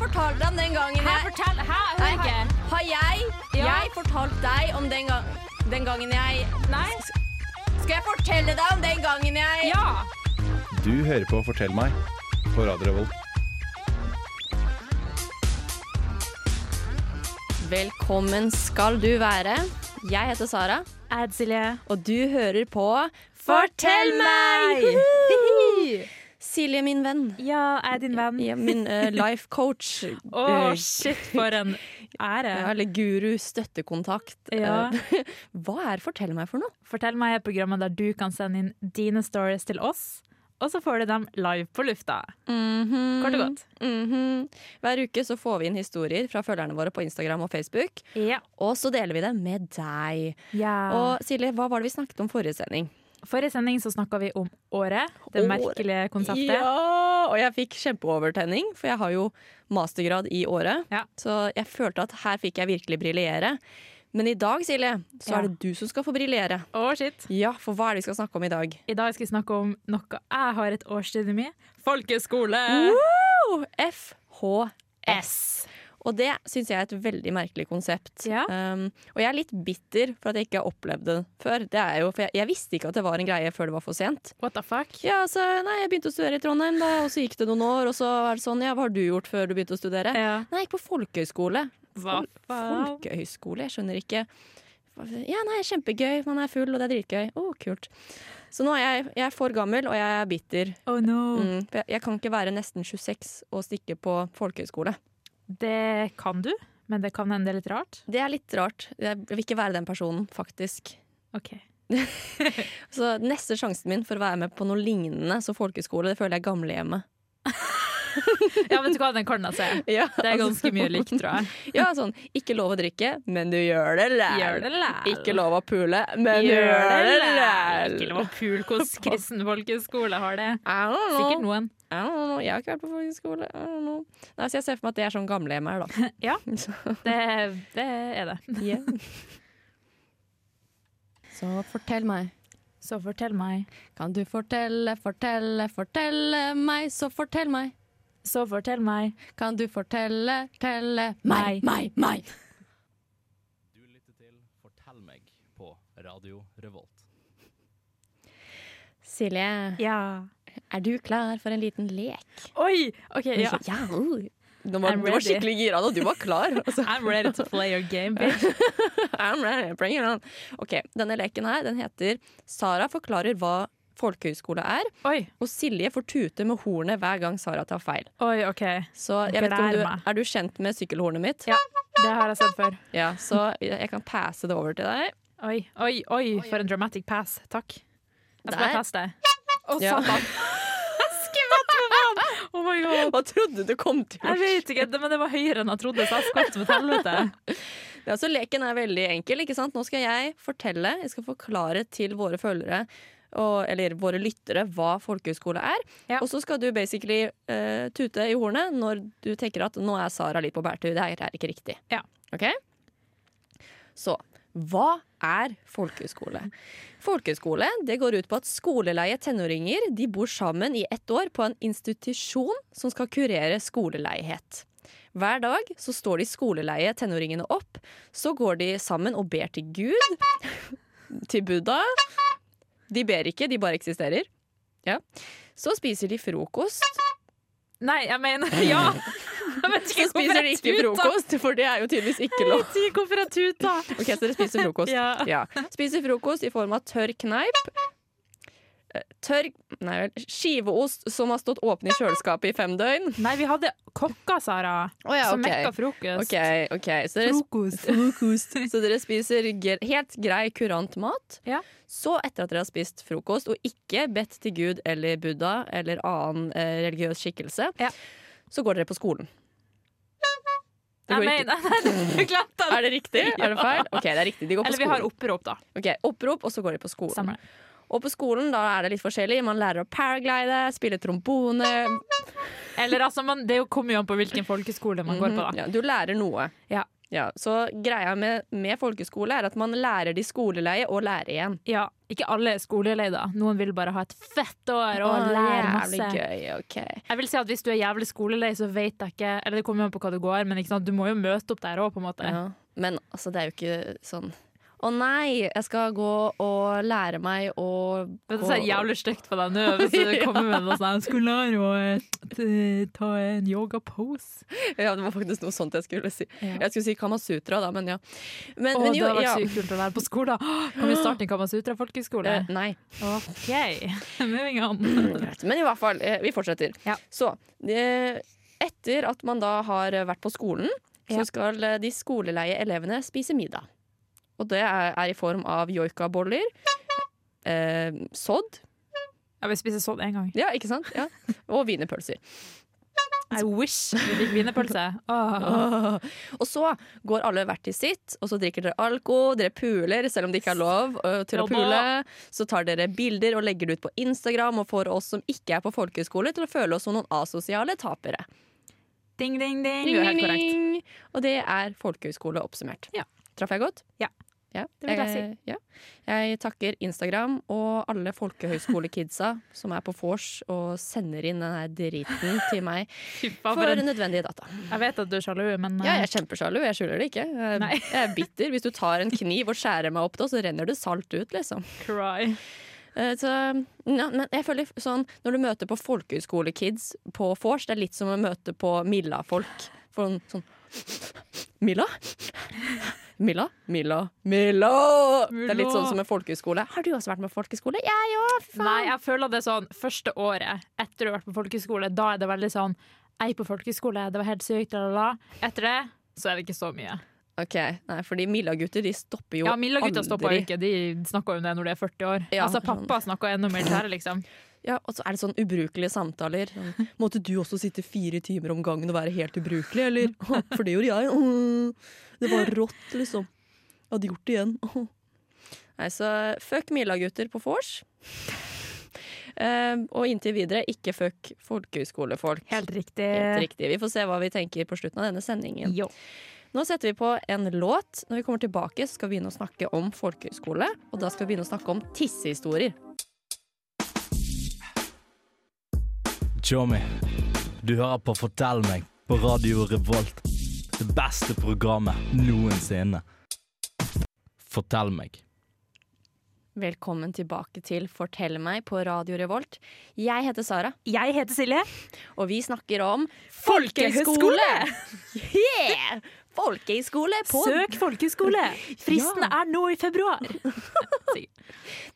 fortalte deg om den gangen Hæ, jeg fortell! Hæ, jeg Nei, hører ikke. har- Har jeg, Ja. jeg fortalt deg om den, gang, den gangen jeg Nei? Skal jeg fortelle deg om den gangen jeg Ja! Du hører på Fortell meg på Radio Revolt. Velkommen skal du være. Jeg heter Sara, Adsilje. og du hører på Fortell meg! Silje, min venn. Ja, jeg er din venn. Ja, min eh, life coach. Å, Eh, shit, for en ære. ja, eller guru støttekontakt. Ja. Eh, Hva er Fortell meg for noe? Fortell meg programmet der du kan sende inn dine stories til oss, og så får du dem live på lufta. Kort og godt. Mhm. Hver uke så får vi inn historier fra følgerne våre på Instagram og Facebook. Ja. Og så deler vi det med deg. Og Silje, hva var det vi snakket om forrige sending? Forrige sending så snakka vi om året, det Året. merkelige konseptet. Ja, og jeg fikk kjempeovertenning, for jeg har jo mastergrad i året. Ja. Så jeg følte at her fikk jeg virkelig briljere. Men i dag, Silje, så Ja. er det du som skal få briljere. Å, shit. Ja, for hva er det vi skal snakke om i dag? I dag skal vi snakke om noe jeg har et årsstudium i. Folkeskole! Woo! E. FHS. S. Og det syns jeg er et veldig merkelig konsept. Ja. Um, og jeg er litt bitter for at jeg ikke har opplevd det før. Det er jo, for jeg, jeg visste ikke at det var en greie før det var for sent. What the fuck? Ja, altså, nei, Jeg begynte å studere i Trondheim, da, og så gikk det noen år. Og så er det sånn, ja, hva har du gjort før du begynte å studere? Ja. Nei, jeg gikk på folkehøyskole. Hva faen? Folkehøyskole, jeg skjønner ikke. Ja, nei, kjempegøy, man er full, og det er dritgøy. Å, kult. Så nå er jeg, jeg er for gammel, og jeg er bitter. Oh no. Mm, for jeg, jeg kan ikke være nesten 26 og stikke på folkehøyskole. Det kan du, men det kan hende det er litt rart. Det er litt rart. Jeg vil ikke være den personen, faktisk. Ok. Så neste sjansen min for å være med på noe lignende som folkeskole, det føler jeg er gamlehjemmet. Ja, vet du hva, den kan jeg se. Ja, Det er altså. ganske mye likt, tror jeg. Ja, sånn ikke lov å drikke, men du gjør det læl. Gjør det læl. Ikke lov å pule, men du Gjør gjør det læl. læl. Ikke lov å pule hvordan kristen folkeskole har det. I don't know. Sikkert noen. I don't know. Jeg har ikke vært på folkeskole. I don't know. Nei, så jeg ser for meg at det er sånn gamlehjem her, da. Ja. Så, Det, det er det. yeah. så fortell meg. Så fortell meg. Kan du fortelle, fortelle, fortelle meg, så fortell meg. Så fortell meg. Kan du fortelle, telle meg, Meg. meg, meg? Du lytter til Fortell meg på Radio Revolt. Silje, Ja. er du klar for en liten lek? Oi! OK, ja. ja. oh. Nå var, I'm du var ready. skikkelig gira da, du var klar. Altså. I'm ready to play your game, bitch. I'm ready, bring it on. Ok, Denne leken her den heter Sara forklarer hva folkehøyskole er, Oi, og Silje får tute med hornet hver gang Sara tar feil. oi, OK. Så jeg vet ikke om Gleder du, meg. Er du kjent med sykkelhornet mitt? Ja, det har jeg sett før. Ja, Så jeg kan passe det over til deg. Oi, oi, oi, for en dramatic pass. Takk. Jeg skal Der. bare teste. Å, Ja. satan! Jeg skvatt med vann! Oh my god. Hva trodde du kom til? å Jeg vet ikke, det- men det var høyere enn jeg trodde, så jeg skvatt som et helvete. Ja, så Leken er veldig enkel. ikke sant? Nå skal jeg fortelle, jeg skal forklare til våre følgere og, eller våre lyttere hva folkehøyskole er. Ja. Og så skal du basically eh, tute i hornet når du tenker at nå er Sara litt på bærtur. Det her er ikke riktig. Ja. Ok? Så hva er folkehøyskole? Folkehøyskole det går ut på at skoleleie tenåringer de bor sammen i ett år på en institusjon som skal kurere skoleleihet. Hver dag så står de skoleleie tenåringene opp, så går de sammen og ber til Gud, til Buddha. De ber ikke, de bare eksisterer. Ja. Så spiser de frokost. Nei, jeg mener ja. Jeg vet Så ikke hvorfor spiser de jeg ikke tuta. frokost, for det er jo tydeligvis ikke Jeg lov. vet ikke hvorfor jeg tuta. Ok, så dere spiser frokost. Ja. Spiser frokost i form av tørr kneip. eh, Tørr Nei vel. Skiveost som har stått åpen i kjøleskapet i fem døgn. Nei, vi hadde kokker, Sara, Å ja, som ok. mekka frokost. OK, ok. Så dere, Frokost. så dere spiser gre- helt grei, kurant mat. Ja. Så, etter at dere har spist frokost og ikke bedt til Gud eller Buddha eller annen eh, religiøs skikkelse, Ja. så går dere på skolen. Det går Jeg riktig. mener, nei, du glemte det. Er det riktig? Er det feil? Ok, det er riktig. De går på Eller vi har skolen. opprop, da. Ok, Opprop, og så går de på skolen. Stemmer det. Og på skolen da er det litt forskjellig. Man lærer å paraglide, spille trombone. Eller altså, man, det kommer jo an på hvilken folkeskole man går på, da. Ja, du Mhm. lærer noe. Ja. Ja, så greia med, med folkeskole er at man lærer de skoleleie og lærer igjen. Ja, ikke alle er skolelei, da. Noen vil bare ha et fett år og lære jævlig masse. gøy, ok. Jeg vil si at Hvis du er jævlig skolelei, så vet jeg ikke Eller det kommer jo an på hva du går, men ikke sant? du må jo møte opp der òg, på en måte. Ja. Men altså, det er jo ikke sånn å nei, jeg skal gå og lære meg å Vet gå du, så er det jævlig stygt på deg nå hvis du kommer med noe sånt. Jeg skulle lære å eh, ta en yoga pose. Ja, det var faktisk noe sånt jeg skulle si. Ja. Jeg skulle si Kamasutra, da, men ja. Men, Å, men det jo, har vært ja. sykt kult å være på skolen. Åh, Kan vi starte en Kamasutra folkehøgskole? Eh, nei. OK, moving on. Greit. Men i hvert fall, eh, vi fortsetter. Ja. Så eh, etter at man da har vært på skolen, Ja. så skal eh, de skoleleie elevene spise middag. Og det er, er i form av joikaboller, eh, sodd, Jeg vil spise sånn en gang. ja, ikke sant? Ja. og wienerpølser. I wish vi fikk wienerpølse. Åh. Åh. Og så går alle hvert til sitt, og så drikker dere alko, dere puler, selv om det ikke er lov øh, til å Jobba. pule. Så tar dere bilder og legger det ut på Instagram, og får oss som ikke er på folkehøyskole, til å føle oss som noen asosiale tapere. Ding, ding, ding. Ding, Du er helt ding, korrekt. ding. Og det er folkehøyskole oppsummert. Ja. Traff jeg godt? Ja. Det vil jeg jeg, ja. jeg takker Instagram og alle folkehøyskolekidsa som er på vors og sender inn den her driten til meg Fy faen, for for en- nødvendige data. Jeg vet at du er sjalu, men Ja, eh, jeg er kjempesjalu, jeg skjuler det ikke. Jeg, Nei. jeg er bitter. Hvis du tar en kniv og skjærer meg opp da, så renner det salt ut, liksom. cry. Eh, Så, ja, men jeg føler sånn, når du møter på folkehøyskolekids på vors, det er litt som å møte på Milla-folk. For en sånn Milla? Milla? Milla? Milla! Det er litt sånn som en folkehøyskole. Har du også vært med på folkehøyskole? Jeg òg, fy faen! Nei, jeg føler det sånn første året etter du har vært på folkeskole, da er det veldig sånn Jeg på folkeskole, det var helt sykt, la, la, la. Etter det så er det ikke så mye. Ok, nei, fordi Milla-gutter de stopper jo Ja, Milla gutta stopper aldri. jo ikke, de snakker jo om det når de er 40 år. Ja, altså pappa snakker enda mer kjære, liksom. Ja, og så er det sånn ubrukelige samtaler. Sånn, Måtte du også sitte fire timer om gangen og være helt ubrukelig, eller? «Å, For det gjorde jeg. Å, Det var rått, liksom. Jeg hadde gjort det igjen. Å.» Nei, så fuck Milla-gutter på vors. Eh, og inntil videre, ikke fuck folkehøyskolefolk. Helt riktig. Helt riktig. Vi får se hva vi tenker på slutten av denne sendingen. Jo. Nå setter vi på en låt. Når vi kommer tilbake, så skal vi begynne å snakke om folkehøyskole. Og da skal vi begynne å snakke om tissehistorier. Tjommi, du hører på Fortell meg på Radio Revolt. Det beste programmet noensinne. Fortell meg. Velkommen tilbake til Fortell meg på Radio Revolt. Jeg heter Sara, Jeg heter Silje. og vi snakker om Folkehøyskole! Yeah! Folkehøyskole på Søk folkeskole! Fristen Ja. er nå i februar. Sikkert.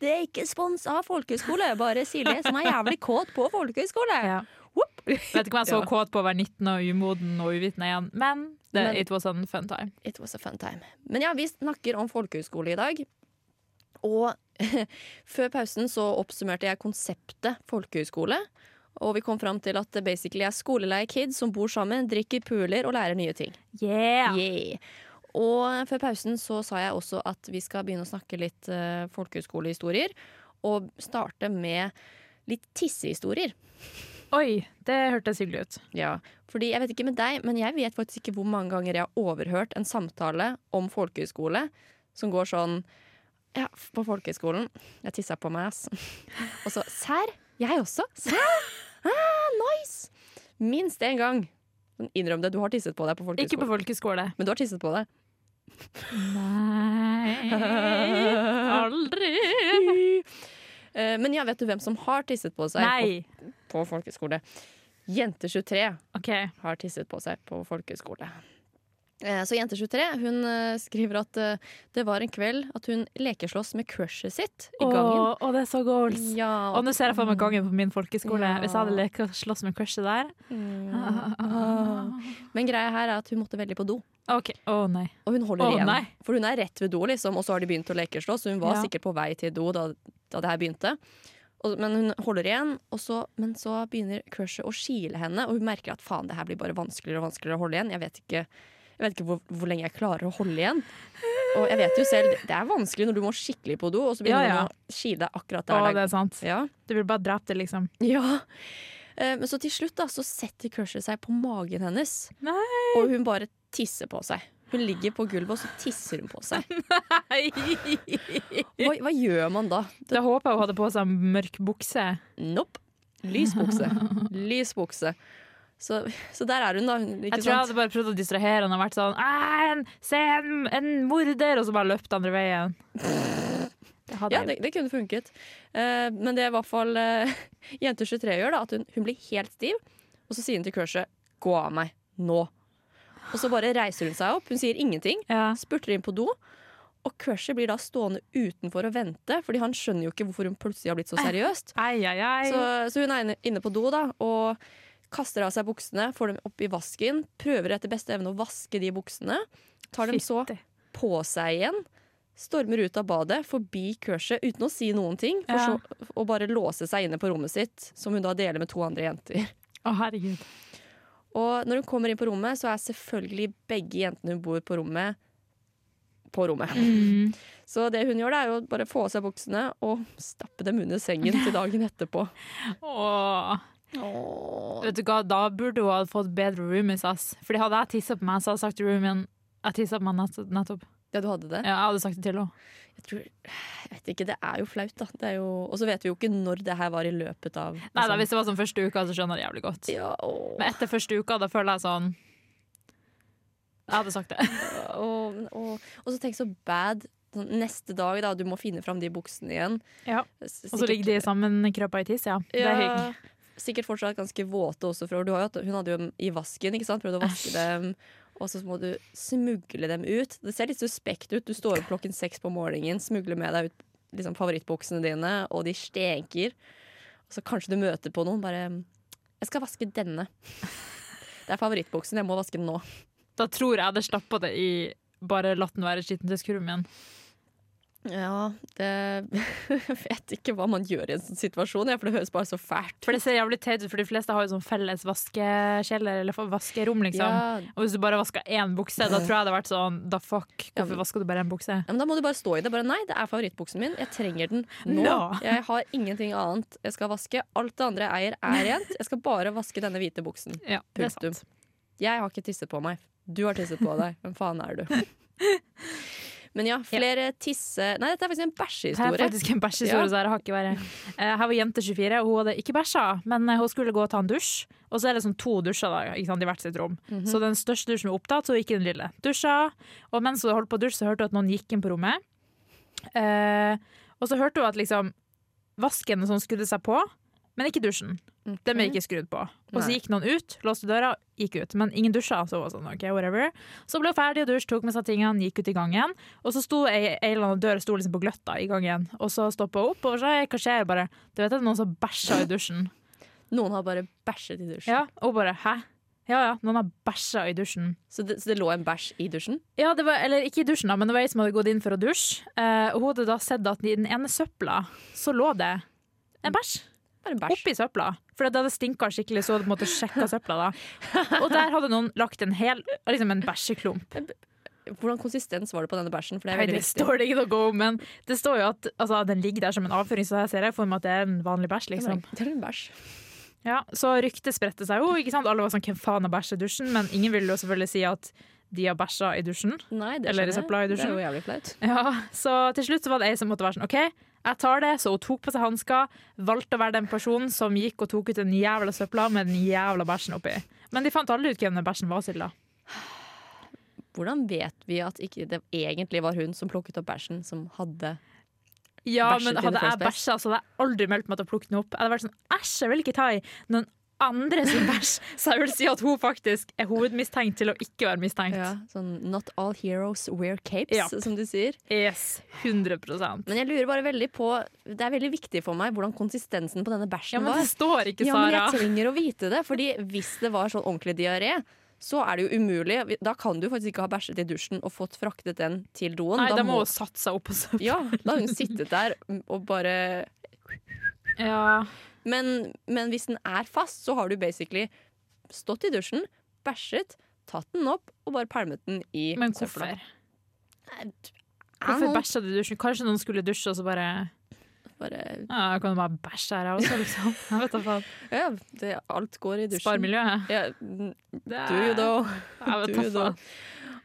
Det er ikke spons av folkehøyskole, bare Silje som er jævlig kåt på folkehøyskole. Ja. Whoop! Vet ikke om jeg er så Ja. kåt på å være 19 og umoden og uvitende igjen, men det, Men- it was a fun time. It was a fun time. Men ja, vi snakker om folkehøyskole i dag. Og før pausen så oppsummerte jeg konseptet folkehøyskole. Og vi kom fram til at det basically er skoleleie kids som bor sammen, drikker puler og lærer nye ting. Yeah! Yeah. Og før pausen så sa jeg også at vi skal begynne å snakke litt eh, folkehøyskolehistorier. Og starte med litt tissehistorier. Oi, det hørtes hyggelig ut. Ja. Fordi jeg vet ikke med deg, men jeg vet faktisk ikke hvor mange ganger jeg har overhørt en samtale om folkehøyskole som går sånn Ja, på folkehøyskolen. Jeg tissa på meg, ass. Og så Serr? Jeg også? Serr? Ah, nice! Minst én gang. Innrøm det, du har tisset på deg på Ikke folkehøyskolen. på folkeskole. Men du har tisset på deg. Nei Aldri! Eh, Men ja, vet du hvem som har tisset på seg på, Nei. på folkeskole? Jente23 OK. har tisset på seg på folkeskole. Så Jente23 hun eh, skriver at eh, det var en kveld at hun lekeslåss med crushet sitt i gangen. Å, å, det er så goals. Ja, Og nå ser jeg for meg gangen på min folkeskole. Ja. Hvis jeg hadde leket og slåss med crushet der Ah. mm. Men greia her er at hun måtte veldig på do. OK. Å nei. Og hun holder Å, igjen. nei. For hun er rett ved do, liksom, og så har de begynt å lekeslåss. Hun var Ja. sikkert på vei til do da, da det her begynte. Og, men hun holder igjen, og så, men så begynner crushet å kile henne. Og hun merker at faen, det her blir bare vanskeligere og vanskeligere å holde igjen. Jeg vet ikke, jeg vet ikke hvor, hvor lenge jeg klarer å holde igjen. Og jeg vet jo selv, det er vanskelig når du må skikkelig på do, og så begynner Ja, ja. hun å kile deg akkurat Å, der. det er sant. Ja. Du vil bare drepe det, liksom. Ja. Eh, Men så til slutt da, så setter crushet seg på magen hennes. Nei. Og hun bare tisser på seg. Hun ligger på gulvet, og så tisser hun på seg. Nei. Hva, hva gjør man da? Da håper jeg hun hadde på seg mørk bukse. Nope. Lys bukse. Lys bukse. Så, så der er hun, da. hun- Ikke Jeg tror jeg sant? hadde bare prøvd å distrahere han og vært sånn «Æ, en- Se, en, en morder! Og så bare løpt andre veien. Det hadde Ja, jeg det, det kunne funket. Eh, men det er i hvert fall eh, jente 23 gjør, da, at hun, hun blir helt stiv. Og så sier hun til crushet 'gå av meg nå'. Og så bare reiser hun seg opp. Hun sier ingenting. ja. spurter inn på do. Og crushet blir da stående utenfor og vente, fordi han skjønner jo ikke hvorfor hun plutselig har blitt så seriøst. Ai, ai, ai. Så, så hun er inne- inne på do da, og kaster av seg buksene, får dem opp i vasken, prøver etter beste evne å vaske de buksene, tar dem så Fitte. på seg igjen, stormer ut av badet, forbi crushet uten å si noen ting, for Ja. så å bare låse seg inne på rommet sitt, som hun da deler med to andre jenter. Å, herregud. Og når hun kommer inn på rommet, så er selvfølgelig begge jentene hun bor på rommet, på rommet. Mm. Så det hun gjør, det er jo bare få av seg buksene og stappe dem under sengen til dagen etterpå. Åh. Vet du hva, da burde hun ha fått bedre roomies, ass. Fordi hadde jeg tissa på meg, så hadde jeg sagt til roomien Jeg tissa på meg nett- nettopp. Ja, du hadde det? Ja, jeg hadde sagt det til henne. Jeg, tror, jeg vet ikke, det er jo flaut, da. Det er jo, og så vet vi jo ikke når det her var i løpet av liksom. Nei da, hvis det var sånn første uka, så skjønner jeg det jævlig godt. ja, åh, Men etter første uka, da føler jeg sånn Jeg hadde sagt det. åh, men åh. Og så tenk så bad sånn, neste dag, da. Du må finne fram de buksene igjen. Ja. S- Og så ligger de sammenkrøpa i tiss, ja. Det er hygg. Ja, Sikkert fortsatt ganske våte også, for du har jo, hatt- hun hadde jo dem i vasken, ikke sant? Prøvde å vaske dem. Og så må du smugle dem ut. Det ser litt suspekt ut. Du står opp klokken seks på morgenen, smugler med deg ut liksom, favorittbuksene dine, og de stenker. Og så kanskje du møter på noen, bare 'Jeg skal vaske denne'. Det er favorittbuksen, jeg må vaske den nå. Da tror jeg jeg hadde stappa det i bare latt den være skitten til skurven min. Ja, det Jeg vet ikke hva man gjør i en sånn situasjon, jeg, for det høres bare så fælt For det ser jævlig teit ut, for de fleste har jo sånn felles vaskekjeller eller vaskerom, liksom. Ja, ja, Og hvis du bare vasker én bukse, da tror jeg det hadde vært sånn Da fuck, Ja, hvorfor men- vasker du bare én bukse? men da må du bare stå i det. Bare nei, det er favorittbuksen min. Jeg trenger den nå. Nå. Jeg har ingenting annet jeg skal vaske. Alt det andre jeg eier, er rent. Jeg skal bare vaske denne hvite buksen. Ja, det er Punktum. sant. Jeg har ikke tisset på meg. Du har tisset på deg. Hvem faen er du? Men ja, flere tisse... Nei, dette er faktisk en Her bæsjehistorie. er faktisk en Ja. bæsjehistorie, så her har ikke vært Eh, Her var jente 24, og hun hadde ikke bæsja, men eh, hun skulle gå og ta en dusj. Og så er det sånn to dusjer da, ikke sant, i hvert sitt rom. Mhm. Så den største dusjen var opptatt, så gikk den lille. Dusja, og mens hun holdt på å dusje, så hørte hun at noen gikk inn på rommet. Eh, og så hørte hun at liksom vasken og sånn skrudde seg på, men ikke dusjen. Den ble ikke skrudd på. Og så Nei. gikk noen ut, låste døra, gikk ut. Men ingen dusja, så hun var sånn, ok, whatever. Så ble hun ferdig og dusj, tok med seg tingene, gikk ut i gangen. Og så sto ei, ei eller annen dør sto liksom på gløtta i gangen. Og så stoppa hun opp, og så hva skjer? Bare, du vet at noen som bæsja i dusjen. Noen har bare bæsjet i dusjen. Ja, og hun bare, hæ? Ja ja, noen har bæsja i dusjen. Så, det, så det lå en bæsj i dusjen? Ja, det var, eller ikke i dusjen, da, men det var ei som hadde gått inn for å dusje. Eh, og hun hadde da sett at i den ene søpla så lå det en bæsj. Bare en bæsj. Oppi søpla. For det hadde stinka skikkelig, så hun hadde på en måte sjekka søpla. da Og der hadde noen lagt en hel liksom en bæsjeklump. Hvordan konsistens var det på denne bæsjen? For det er Nei, veldig det viktig. står det ikke noe om, men det står jo at altså, den ligger der som en avføring, så her ser jeg for meg at det er en vanlig bæsj, liksom. Det er en bæsj. Ja, så ryktet spredte seg jo, ikke sant. Alle var sånn hvem faen har bæsja i dusjen? Men ingen ville jo selvfølgelig si at de har bæsja i dusjen. Nei, det skjønner Eller i jeg. søpla i Det dusjen. er jo jævlig flaut. Ja, så til slutt så var det ei som måtte være sånn OK, jeg tar det. Så hun tok på seg hansker, valgte å være den personen som gikk og tok ut den jævla søpla med den jævla bæsjen oppi. Men de fant aldri ut hvem den bæsjen var, Silda. Hvordan vet vi at ikke det egentlig var hun som plukket opp bæsjen som hadde Ja, Bæsjet men in the first hadde jeg place. bæsja, så hadde jeg aldri meldt meg til å plukke den opp. Jeg hadde vært sånn æsj, jeg vil ikke ta i noen andre sin bæsj. Så jeg vil si at hun faktisk er hovedmistenkt til å ikke være mistenkt. sånn Not all heroes wear capes, Ja. som de sier. Yes, 100 Ja, Men jeg lurer bare veldig på Det er veldig viktig for meg hvordan konsistensen på denne bæsjen men det var. står ikke, Ja, men Sara. jeg trenger å vite det, Fordi hvis det var sånn ordentlig diaré, så er det jo umulig. Da kan du faktisk ikke ha bæsjet i dusjen og fått fraktet den til doen. Nei, da må hun satt seg opp på søpla. ja, da har hun sittet der og bare Ja. Men, men hvis den er fast, så har du basically stått i dusjen, bæsjet, tatt den opp og bare pælmet den i Men søpla. hvorfor? Nei, Hvorfor bæsja du i dusjen? Kanskje noen skulle dusje, og så bare Bare, ja, jeg Kan du bare bæsje her, jeg også, liksom? Jeg vet da faen. ja, det, alt går i dusjen. Spar miljøet. Ja, n- Det do you know? Jeg vet Do da you know? faen.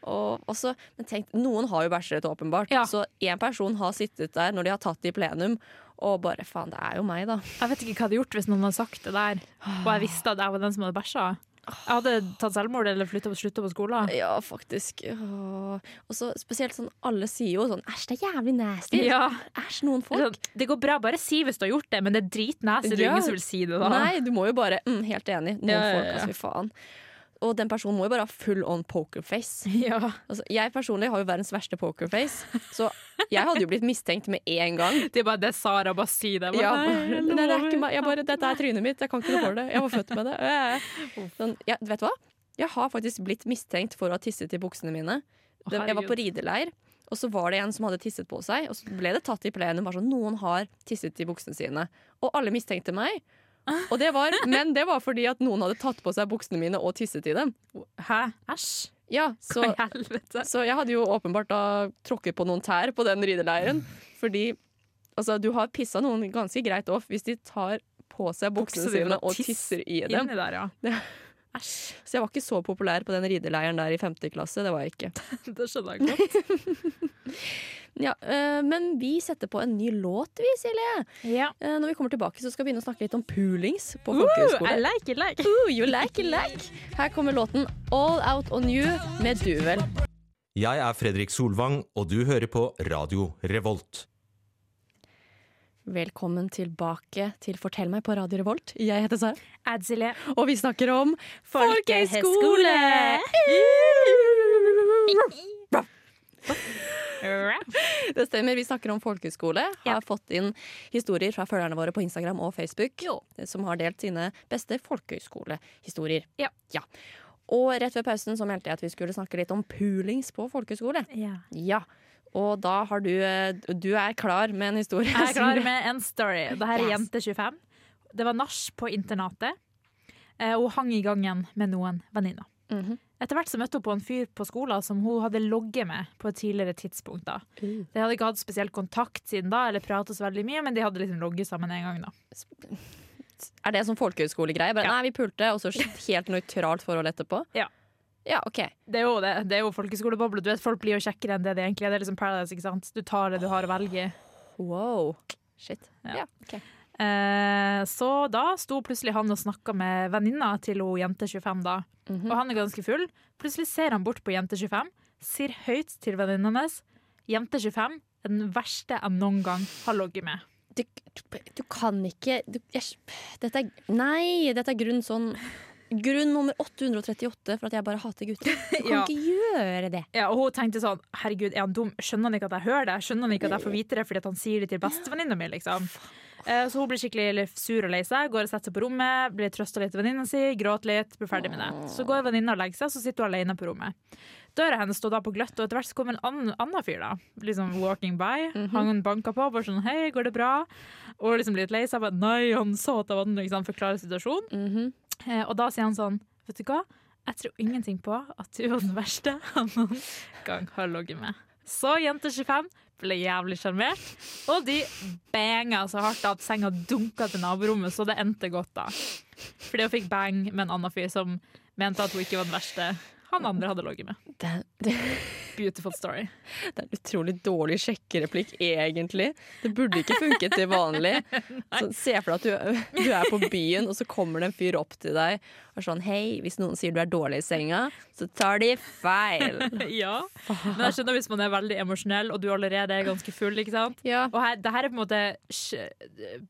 Og også, men tenk, noen har jo bæsjet, åpenbart. Ja. Så én person har sittet der når de har tatt det i plenum, og bare faen, det er jo meg, da. Jeg vet ikke hva jeg hadde gjort hvis noen hadde sagt det der, og jeg visste at jeg var den som hadde bæsja. Jeg hadde tatt selvmord eller flytta på, slutta på skolen. Ja, faktisk. Åh. Og så spesielt sånn, alle sier jo sånn æsj, det er jævlig nasty. Ja. Æsj, noen folk. Sånn, Det går bra, bare si hvis du har gjort det, men det er dritnasty. Det er Ja. jo ingen som vil si det da. Nei, du må jo bare mm, Helt enig. Noen Ja, ja, folk, ja. altså, fy faen. Og den personen må jo bare ha full on pokerface. Ja. Altså, jeg personlig har jo verdens verste pokerface, så jeg hadde jo blitt mistenkt med en gang. Det er bare det Sara bare sier. Det. Jeg bare, Ja, nei, jeg nei, det er lover. ikke meg. Jeg bare, dette er trynet mitt, jeg kan ikke noe for det. Jeg var født med det. Øh. Sånn, ja, vet du hva? Jeg har faktisk blitt mistenkt for å ha tisset i buksene mine. Å, Det- Jeg var på herregud. rideleir, og så var det en som hadde tisset på seg. Og så ble det tatt i plenum. Bare sånn, noen har tisset i buksene sine. Og alle mistenkte meg. Og det var, men det var fordi at noen hadde tatt på seg buksene mine og tisset i dem. Hæ? Æsj? Ja, Hva så i helvete? så jeg hadde jo åpenbart da tråkket på noen tær på den rideleiren. Fordi altså, du har pissa noen ganske greit off hvis de tar på seg buksene Bukser de sine bare og tiss tisser i dem. Inni der, ja. Det- Æsj. Så jeg var ikke så populær på den rideleiren der i femte klasse. Det var jeg ikke. Det skjønner jeg godt. Ja, øh, men vi setter på en ny låt, vi, Silje. Ja. Eh, når vi kommer tilbake, så skal vi begynne å snakke litt om poolings på Uh, I folkehøyskole. like, I like. Ooh, you like, you like. Her kommer låten All Out On You med Duel. Jeg er Fredrik Solvang, og du hører på Radio Revolt. Velkommen tilbake til Fortell meg på Radio Revolt. Jeg heter Sara. Adsile. Og vi snakker om folkehøyskole! Det stemmer, vi snakker om folkehøyskole. Har Ja. fått inn historier fra følgerne våre på Instagram og Facebook som har delt sine beste folkehøyskolehistorier. Ja. Og rett ved pausen så meldte jeg at vi skulle snakke litt om poolings på folkehøyskole. Ja. Ja. Og da har du eh, Du er klar med en historie. Jeg er som klar du- med en story. Det her er Yes. jente 25. Det var nach på internatet. eh, og Hun hang i gangen med noen venninner. Mhm. Etter hvert så møtte hun på en fyr på skolen som hun hadde logget med på et tidligere tidspunkt. da. Uh. De hadde ikke hatt spesielt kontakt siden da, eller pratet så veldig mye, men de hadde liksom logget sammen en gang. da. Er det sånn folkehøyskolegreie? Bare, Ja. Nei, vi pulte, og så helt nøytralt forhold etterpå? Ja. Ja, OK. Det er jo det. Det er jo folkeskoleboble. Du vet, Folk blir jo kjekkere enn det de egentlig er. Det er liksom Paradise, ikke sant? Du tar det du har å velge i. Wow. Shit. Ja. Ja, ok. Eh, så da sto plutselig han og snakka med venninna til hun jente 25, da. Og han er ganske full. Plutselig ser han bort på jente 25, sier høyt til venninna hennes Jente 25 er den verste jeg noen gang har logget med. Du, du, du kan ikke du, jeg, dette er, Nei, dette er grunn sånn Grunn nummer 838 for at jeg bare hater gutter. Du kan Ja. ikke gjøre det. Ja, og hun tenkte sånn Herregud, er han dum? Skjønner han ikke at jeg hører det? Skjønner han ikke at jeg får vite det fordi at han sier det til bestevenninna mi? Liksom. Eh, Så hun blir skikkelig litt sur og lei seg, går og setter seg på rommet, blir trøsta litt av venninna si, gråter litt, blir ferdig med det. Så går venninna og legger seg, så sitter hun alene på rommet. Døra hennes står da på gløtt, og etter hvert så kommer en annen, annen fyr, da. Liksom walking by. Han banker på, bare sånn Hei, går det bra? Og liksom blir litt lei seg. Bare, Nei, han sa at jeg var den, liksom, forklarer situasjonen. Mhm. Eh, Og da sier han sånn, vet du hva? Jeg tror ingenting på at du var den verste han noen gang har logget med. Så jente 25 ble jævlig sjarmert, og de banga så hardt at senga dunka til naborommet, så det endte godt, da. Fordi hun fikk bang med en annen fyr som mente at hun ikke var den verste han andre hadde ligget med. Det, det, Beautiful story. det er en utrolig dårlig sjekkereplikk, egentlig. Det burde ikke funket til vanlig. Så, se for deg at du, du er på byen, og så kommer det en fyr opp til deg og er sånn Hei, hvis noen sier du er dårlig i senga, så tar de feil. Ja. Men jeg skjønner hvis man er veldig emosjonell, og du allerede er ganske full, ikke sant? Ja. Og her, det her er på en måte sj-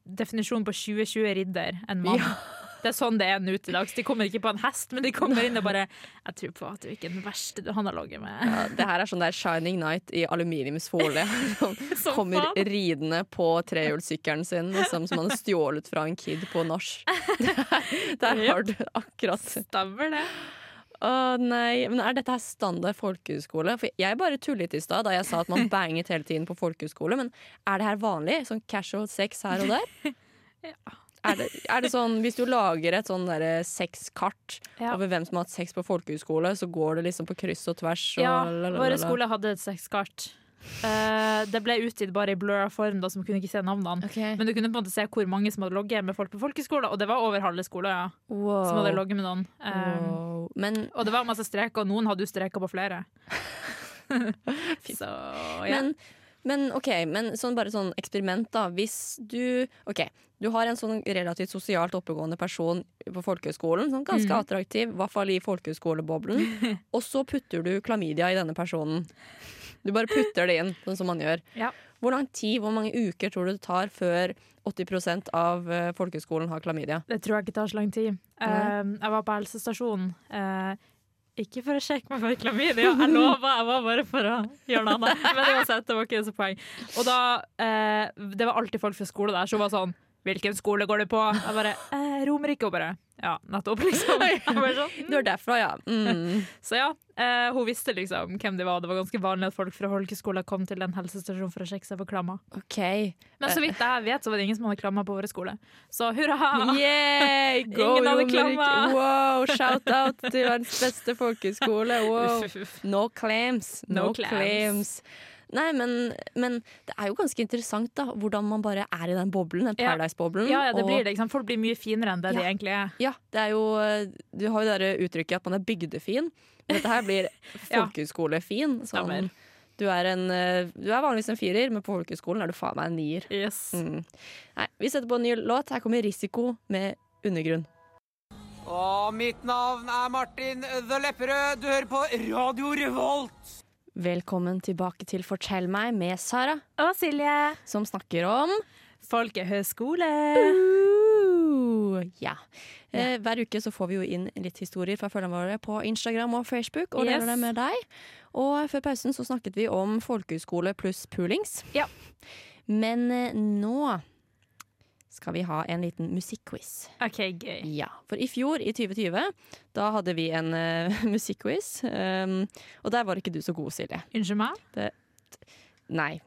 definisjonen på 2020 ridder, en mann. Det er sånn det er nå til dags. De kommer ikke på en hest, men de kommer inn og bare 'Jeg tror på at du ikke er den verste du han har ligget med'. Ja, det her er sånn der Shining Night i aluminiumsfolie. Som Som kommer faen. ridende på trehjulssykkelen sin, liksom, som han har stjålet fra en kid på nach. Der, der har du akkurat Stemmer det? Å nei, men Er dette her standard folkehøyskole? For jeg bare tullet i stad da jeg sa at man banget hele tiden på folkehøyskole, men er det her vanlig? Sånn casual sex her og der? Er det, er det sånn, Hvis du lager et sånn derre sexkart Ja. over hvem som har hatt sex på folkehøyskole, så går det liksom på kryss og tvers? Og Ja, la, la, la, vår la. skole hadde et sexkart. Eh, det ble utgitt bare i blurra form, da, så man kunne ikke se navnene. Okay. Men du kunne på en måte se hvor mange som hadde logget med folk på folkeskolen, og det var over halve skolen ja, wow. som hadde logget med noen. Eh, Wow. Men, Og det var masse streker, og noen hadde jo streker på flere. så ja. men, men OK, men sånn, bare sånn eksperiment, da. Hvis du OK, du har en sånn relativt sosialt oppegående person på folkehøyskolen, sånn ganske Mm. attraktiv, i hvert fall i folkehøyskoleboblen, og så putter du klamydia i denne personen. Du bare putter det inn, sånn som man gjør. Ja. Hvor lang tid, hvor mange uker tror du det tar før 80 av eh, folkehøyskolen har klamydia? Det tror jeg ikke tar så lang tid. Nei. Eh, jeg var på helsestasjonen. eh, ikke for å sjekke meg for klamydia, jeg lover, jeg var bare for å gjøre noe annet. Men uansett, det var ikke så poeng. Og da, eh, det var alltid folk fra skole der som var sånn Hvilken skole går du på? Jeg bare eh, Romerike. Og bare Ja, nettopp, liksom. Jeg bare sånn, Du er derfra, ja. Mm. Så ja, eh, hun visste liksom hvem de var. Det var ganske vanlig at folk fra folkeskolen kom til en helsestasjon for å sjekke seg for klammer. OK. Men så vidt jeg vet, så var det ingen som hadde klammer på vår skole. Så hurra! Yeah, go Ah. Ingen hadde Romerike. klamma. Wow, shout out til verdens beste folkehøyskole. Wow. Uff, uff, uff. No claims. No, No claims. claims. Nei, men, men det er jo ganske interessant da, hvordan man bare er i den boblen, den Ja. Paradise-boblen. Ja, ja, det Mm. og- blir det. Ikke sant? Folk blir mye finere enn det Ja. de egentlig er. Ja, det er jo, du har jo det der uttrykket at man er bygdefin. Men dette her blir Ja. folkehøyskolefin. Sånn. Stemmer. Du, er en, eh, du er vanligvis en firer, men på folkehøyskolen er du faen meg en nier. Yes. Mm. Nei, vi setter på en ny låt. Her kommer 'Risiko' med 'Undergrunn'. Og mitt navn er Martin The Lepperød. Du hører på Radio Revolt. Velkommen tilbake til 'Fortell meg' med Sara, Og Silje. som snakker om Folkehøgskole. Mm. Uh, ja. Eh, hver uke så får vi jo inn litt historier fra følgerne våre på Instagram og Facebook. Og Yes. deler dem med deg. Og før pausen så snakket vi om folkehøyskole pluss poolings. Ja. Men eh, nå skal vi ha en liten musikkquiz. OK, gøy. Ja, For i fjor, i 2020, da hadde vi en eh, musikkquiz. Um, og der var ikke du så god, Silje. Unnskyld meg? Nei.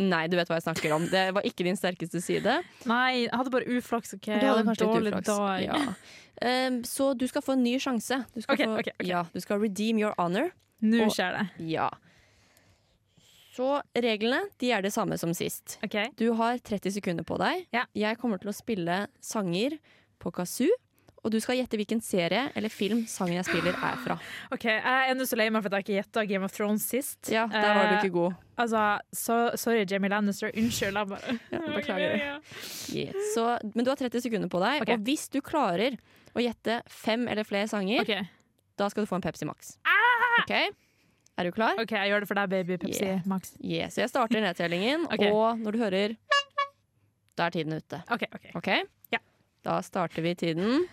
Nei, du vet hva jeg snakker om. Det var ikke din sterkeste side. Eh, Nei, jeg hadde bare uflaks. ok? Du hadde Jeg hadde kanskje en litt dårlig uflaks. dag. Ja. Ehm, så du skal få en ny sjanse. Du skal, Ok, få, ok, ok. Ja, du skal redeem your honor. Nå Og- skjer det. Ja. Så reglene de er det samme som sist. OK. Du har 30 sekunder på deg. Ja. Jeg kommer til å spille sanger på kazoo. Og du skal gjette hvilken serie eller film sangen jeg spiller er fra. ok, Jeg er nå så lei meg for at jeg ikke gjetta Game of Thrones sist. Ja, Der var du Eh, ikke god. Altså, så, Sorry, Jamie Lannister. Unnskyld. Jeg bare beklager det. Yes. Så, men du har 30 sekunder på deg. Ok. Og hvis du klarer å gjette fem eller flere sanger, OK, Ah! da skal du få en Pepsi Max. Ok? Er du klar? ok, jeg gjør det for deg, baby Pepsi Yeah. Max. Yes, jeg starter nedtellingen, Ok. og når du hører Da er tiden ute. OK. ok. OK? Ja. Da starter vi tiden.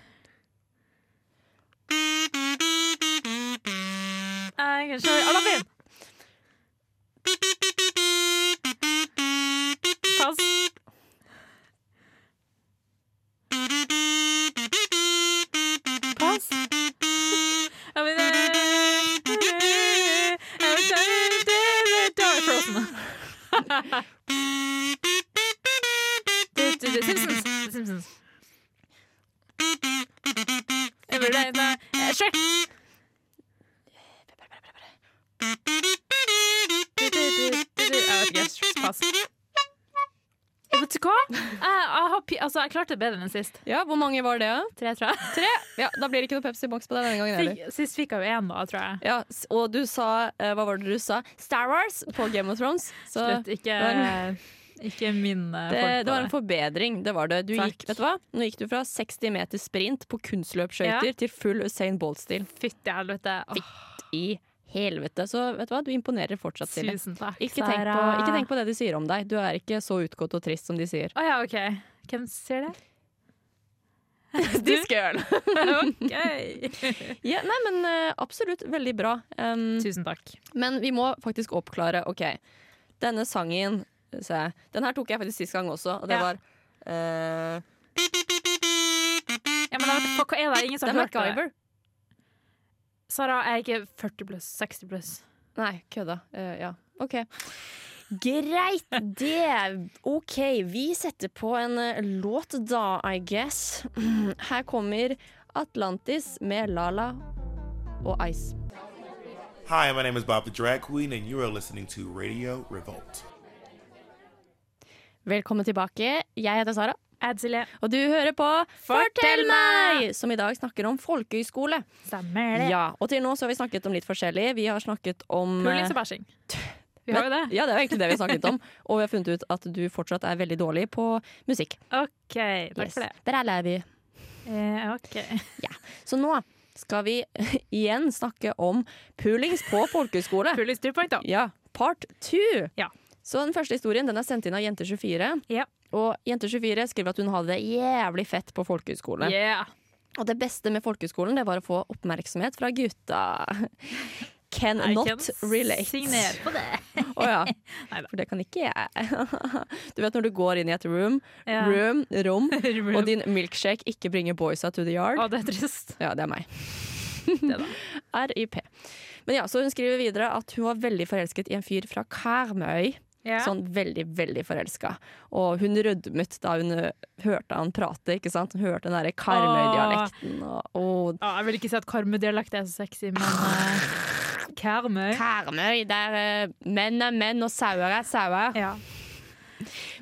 Jeg kan kjøre Aladdin! Pass. Pass. I mean, eh, every time there are dark Frozen. Du, du, du, Simpsons. Simpsons. Every day, eh, Shrek. Du, du, du, du, du. Jeg vet ikke. Pass. Jeg vet ikke hva? Jeg, jeg, har, pi- altså, jeg klarte det bedre enn sist. Ja, Hvor mange var det? da? Tre, tror jeg. Ja, Da blir det ikke noe Pepsi Max på deg denne gangen heller. Fikk, sist fikk jeg jo én, da, tror jeg. Ja, s- og du sa eh, Hva var det du sa? Star Wars på Game of Thrones. Så Slutt, ikke, det ikke min eh, det, folk på det var en forbedring. Det var det. Du Takk. gikk, vet du hva? Nå gikk du fra 60 meter sprint på kunstløpsskøyter Ja. til full Usain Bolt-stil. Fytti helvete. Åh, I helvete. Så vet du hva, du imponerer fortsatt, Silje. tusen takk, Ikke tenk, på, Sara. ikke tenk på det de sier om deg. Du er ikke så utgått og trist som de sier. Å ja, OK. Hvem sier det? This girl! OK. ja, nei, men eh, absolutt veldig bra. Um, Tusen takk. men vi må faktisk oppklare. Ok, denne sangen se, Den her tok jeg faktisk sist gang også, og det Ja. var eh, Ja, men jeg vet- fuck, hva er det? Ingen Det som er har hørt det. MacGyver. Sara, jeg er ikke 40 pluss. 60 pluss. Nei, kødda. Eh, ja, OK. Greit, det. OK, vi setter på en eh, låt da, I guess. Her kommer Atlantis med Lala og Ice. Hi, my name is Bob the Drag Queen, and you are listening to Radio Revolt. Velkommen tilbake. Jeg heter Sara. Adzile. Og du hører på Fortell meg! som i dag snakker om folkehøyskole. Stemmer det. Ja, og til nå så har vi snakket om litt forskjellig. Vi har snakket om eh, Pulings og bæsjing. Vi har jo det. Ja, det er jo egentlig det vi har snakket om. Og vi har funnet ut at du fortsatt er veldig dårlig på musikk. OK, takk for det. Der er vi. Eh, ok. Så nå skal vi igjen snakke om pulings på folkehøyskole. Pulings 2.0. Ja, part two. Ja. Så den første historien den er sendt inn av Jente24. Ja. Og Jente24 skriver at hun hadde det jævlig fett på folkehøyskole. Yeah. Og det beste med folkehøyskolen det var å få oppmerksomhet fra gutta. Can I not can relate. Signer på det. Å ja. Neida. For det kan ikke jeg. Du vet når du går inn i et room, Ja. room, rom, Room. og din milkshake ikke bringer boysa to the yard. Å, det er trist. Ja, det er meg. Det da. RIP. Men ja, så hun skriver videre at hun var veldig forelsket i en fyr fra Karmøy. Ja. Sånn veldig, veldig forelska. Og hun rødmet da hun ø, hørte han prate, ikke sant? Hun hørte den derre Karmøy-dialekten og, og Å, jeg vil ikke si at karmøydialekt er så sexy, men eh, Karmøy Karmøy, der ø, menn er menn og sauer er sauer. ja.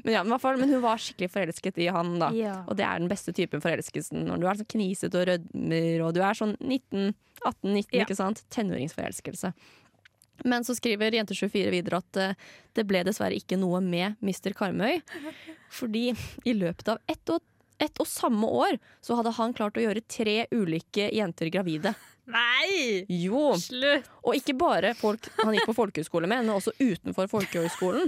Men, ja, men, i hvert fall, men hun var skikkelig forelsket i han, da. Ja. Og det er den beste typen forelskelsen. Når du er sånn knisete og rødmer, og du er sånn 19, 18-19, Ja. ikke sant? Tenåringsforelskelse. Men så skriver Jente24 videre at eh, det ble dessverre ikke noe med Mr. Karmøy. Fordi i løpet av ett og, ett og samme år så hadde han klart å gjøre tre ulike jenter gravide. Nei! Jo! Slutt! Og ikke bare folk han gikk på folkehøyskole med, men også utenfor folkehøyskolen.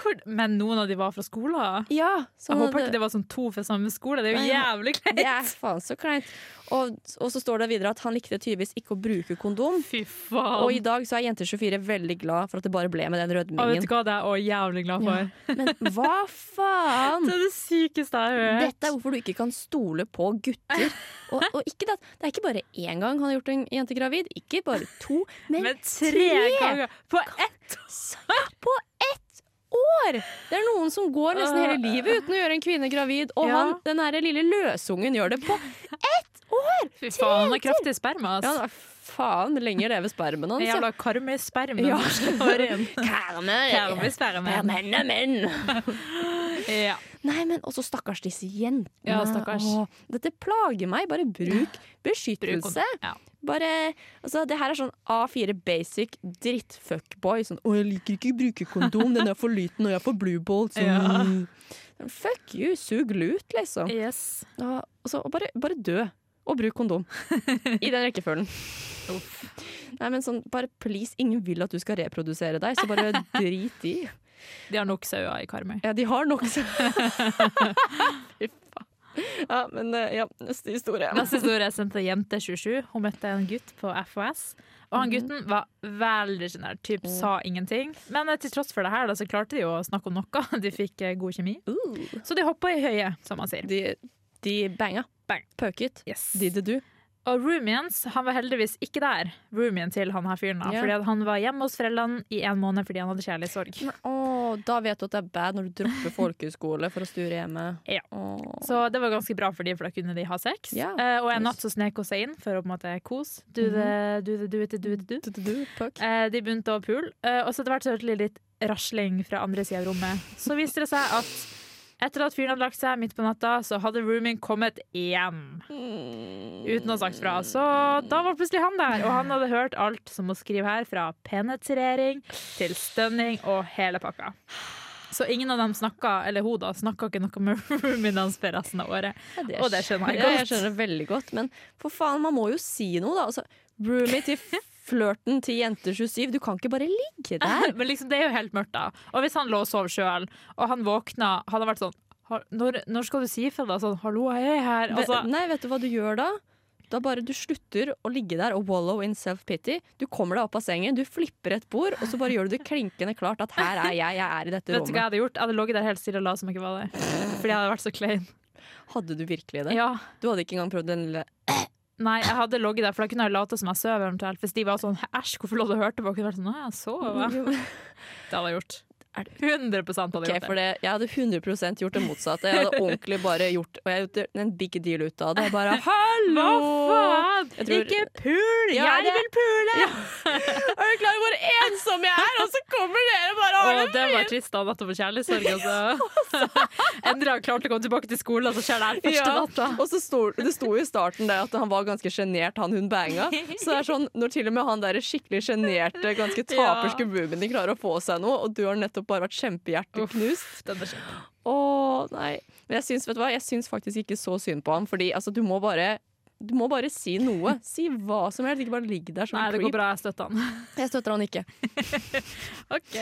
Hvor, men noen av de var fra skolen? Ja, så Jeg han håper hadde- ikke det var sånn to fra samme skole. Det er jo Nei, ja. jævlig kleint! Det er faen så kleint. Og, og så står det videre at han likte tydeligvis ikke å bruke kondom. Fy Og i faen. dag så er Jenter24 veldig glad for at det bare ble med den Å, vet rødmingen. du hva, det er jeg også jævlig glad for. Men hva faen? Det er det sykeste jeg har hørt. Dette er hvorfor du ikke kan stole på gutter. Og, og ikke det, at- det er ikke bare én gang han har gjort en jente gravid, ikke bare to, men, Men tre, tre ganger på ett! på ett år! Det er noen som går nesten hele livet uten å gjøre en kvinne gravid, og Ja. han, den her lille løsungen gjør det på Fy faen, han har kraftig sperma. Ja, ass. da, faen, lenge leve spermen hans. ja. Jævla karmøysperma. Ja. Ja. Karmøy. Karmøysperma. Menn er menn! Ja. Nei, men også stakkars disse jentene. Ja, stakkars. Åh, dette plager meg. Bare bruk Bruk beskyttelse. kondom. Ja. Bare, altså, det her er sånn A4 basic drittfuckboy. Sånn 'Å, jeg liker ikke å bruke kondom. Den er for liten, og jeg får bluebolt.' Sånn. Fuck you. Sug lut, liksom. Yes. Og, og så, altså, og bare, bare dø. Og bruk kondom. I den rekkefølgen. Nei, men sånn, bare please, ingen vil at du skal reprodusere deg, så bare drit i. De har nok sauer i Karmøy. Ja, de har nok så Fy faen. Ja, men eh, ja, neste historie. Neste historie er sendt til jente 27. Hun møtte en gutt på FOS. Og han gutten var veldig sjenert. Typ sa ingenting. Men eh, til tross for det her, da, så klarte de jo å snakke om noe. De fikk eh, god kjemi. Uh, Så de hoppa i høyet, som man sier. de, de banga. Bang. Pøket. Yes. Did the do. Og roomiens, han var heldigvis ikke der. Roomien til han her fyren, da. Ja. Fordi at han var hjemme hos foreldrene i en måned fordi han hadde kjærlighetssorg. Åh, da vet du at det er bad når du dropper folkehøyskole for å sture hjemme. Ja. Åh. Så det var ganske bra for de, for da kunne de ha sex. Ja, Eh, og en nice. natt så snek hun seg inn for å på en måte kose. eh, Do the, do the, do it, do it, do. Did the do, pøk. Eh, de begynte å pule, eh, og så etter hvert så hørte de litt rasling fra andre sida av rommet. Så viste det seg at etter at fyren hadde lagt seg midt på natta, så hadde roomien kommet hjem. Mm. Uten å ha sagt fra. Så da var plutselig han der, og han hadde hørt alt som må skrive her, fra penetrering til stønning og hele pakka. Så ingen av dem snakka, eller hun da, snakka ikke noe med roomien hans for resten av året. Ja, og det skjønner jeg Ja, godt. jeg skjønner det veldig godt. Men for faen, man må jo si noe, da. Altså, roomie til flørten til jente 27. Du kan ikke bare ligge der. Men liksom, det er jo helt mørkt, da. Og hvis han lå og sov sjøl, og han våkna, hadde han vært sånn «Har- når, når skal du si ifra, da? Sånn, 'hallo, jeg er her'. Altså, Nei, vet du hva du gjør da? Da bare du slutter å ligge der og wallow in self-pity. Du kommer deg opp av sengen, du flipper et bord, og så bare gjør du det klinkende klart at her er jeg, jeg er i dette vet du hva jeg rommet. hadde gjort? Jeg hadde ligget der helt stille og la som jeg ikke var der. Fordi jeg hadde vært så klein. Hadde du virkelig det? Ja. Du hadde ikke engang prøvd den lille Nei, jeg hadde ligget der, for da kunne jeg late som jeg sov eventuelt. Hvis de var sånn 'æsj, hvorfor lå du og hørte på?' Jeg kunne vært sånn 'å, jeg sov'. jeg». Det hadde jeg gjort. Er det 100 hadde Ok, jeg gjort for det. det, jeg hadde 100 gjort det motsatte. Jeg hadde ordentlig bare gjort Og jeg hadde gjort en big deal ut av det. Jeg Bare hallo! Hva faen? Jeg tror- Ikke pul! Ja, jeg det- vil pule! Er du klar over hvor ensom jeg er, og så kommer dere bare Å, det var trist da, natta for kjærlighetssorg. Altså. Endelig har han klart å komme tilbake til skolen, og så skjer det her første natta. Og så sto, det sto jo i starten der at han var ganske sjenert, han hun banga. Så det er sånn, når til og med han der skikkelig sjenerte, ganske taperske boobien din klarer å få seg noe, og du har nettopp bare vært Uff. kjempehjerteknust Den er kjip. Å, nei. Men jeg syns, vet du hva, jeg syns faktisk ikke så synd på ham, fordi altså, du må bare du må bare si noe. Si hva som helst, ikke bare ligg der som Nei, en det går creep. bra, jeg støtter han. Jeg støtter han ikke. Ok.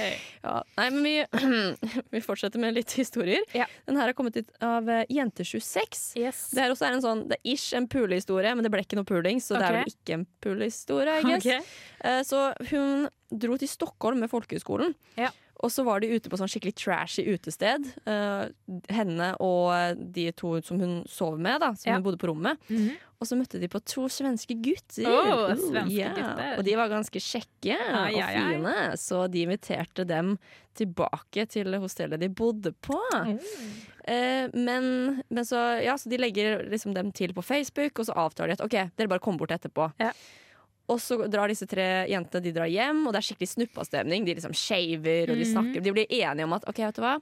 Ja. Nei, men vi, vi fortsetter med litt historier. Ja. Den her har kommet ut av eh, Jente26. Det her også er en sånn, det er ish en pulehistorie, men det ble ikke noe puling, så det er Ok. vel ikke en pulehistorie, I guess. Ok. Eh, Så hun dro til Stockholm med folkehøyskolen. Ja. Og så var de ute på sånn skikkelig trashy utested. eh, henne og de to som hun sov med, da, som Ja. hun bodde på rommet. Mhm. Og så møtte de på to svenske gutter. Oh, Åh, svenske ja. gutter. Og de var ganske kjekke Ai, og ai, ai. fine, så de inviterte dem tilbake til hostellet de bodde på. Oh. Eh, men, men så, ja, så de legger liksom dem til på Facebook, og så avtaler de at ok, dere bare kommer bort etterpå. Ja. Og så drar disse tre jentene de drar hjem, og det er skikkelig snuppastemning. De liksom shaver, og de Mhm. snakker. De blir enige om at ok, vet du hva?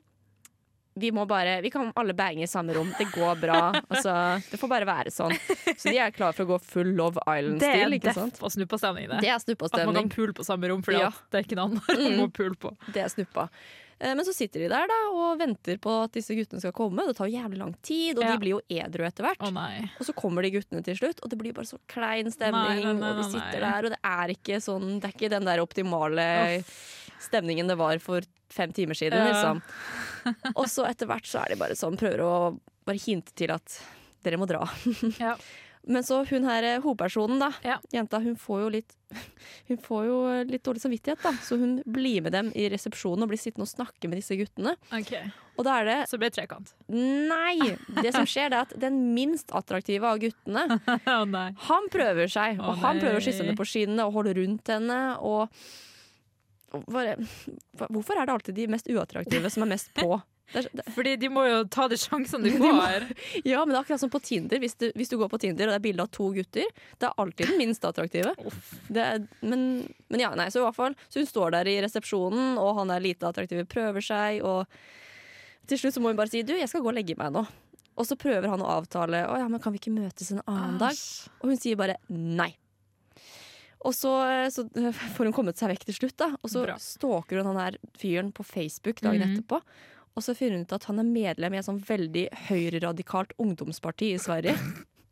Vi må bare, vi kan alle bange i samme rom. Det går bra. altså, det får bare være sånn. Så de er klare for å gå full Love Det er Island-stil. ikke sant? deff og snuppastemning, det. Det er At man kan snuppastemning. pule på samme rom, fordi Ja. Mm. at det er ikke noe annet man må pule på. Det er snuppa. Eh, Men så sitter de der da og venter på at disse guttene skal komme. Det tar jo jævlig lang tid, og Ja. de blir jo edru etter hvert. Å nei. Og så kommer de guttene til slutt, og det blir bare så klein stemning. Nei, nei, nei, og de nei, sitter nei. der, og det er ikke sånn Det er ikke den der optimale stemningen det var for fem timer siden, Ja. liksom. Og så etter hvert så er de bare sånn, prøver å bare hinte til at dere må dra. Ja. Men så hun her eh, hovedpersonen, da. Ja. Jenta, hun får jo litt Hun får jo litt dårlig samvittighet, da. Så hun blir med dem i resepsjonen og blir sittende og snakke med disse guttene. Ok, Og da er det så det ble trekant. Nei! Det som skjer, det er at den minst attraktive av guttene Å nei. han prøver seg, Å, og han prøver å nei. kysse henne på skinnene og holde rundt henne. Og og bare, hva- hvorfor er det alltid de mest uattraktive som er mest på? Det er, det, Fordi de må jo ta de sjansene de får. ja, men det er akkurat som på Tinder. Hvis du, hvis du går på Tinder og det er bilde av to gutter, det er alltid den minst attraktive. Det er, men, men ja, nei, så i hvert fall Så hun står der i resepsjonen, og han er lite attraktiv, prøver seg, og til slutt så må hun bare si 'du, jeg skal gå og legge meg nå'. Og så prøver han å avtale 'å ja, men kan vi ikke møtes en annen Ah, dag'? Og hun sier bare nei. Og så, så får hun kommet seg vekk til slutt, da. Og så Bra. stalker hun han her fyren på Facebook dagen Mhm. etterpå. Og så finner hun ut at han er medlem i et sånn veldig høyreradikalt ungdomsparti i Sverige.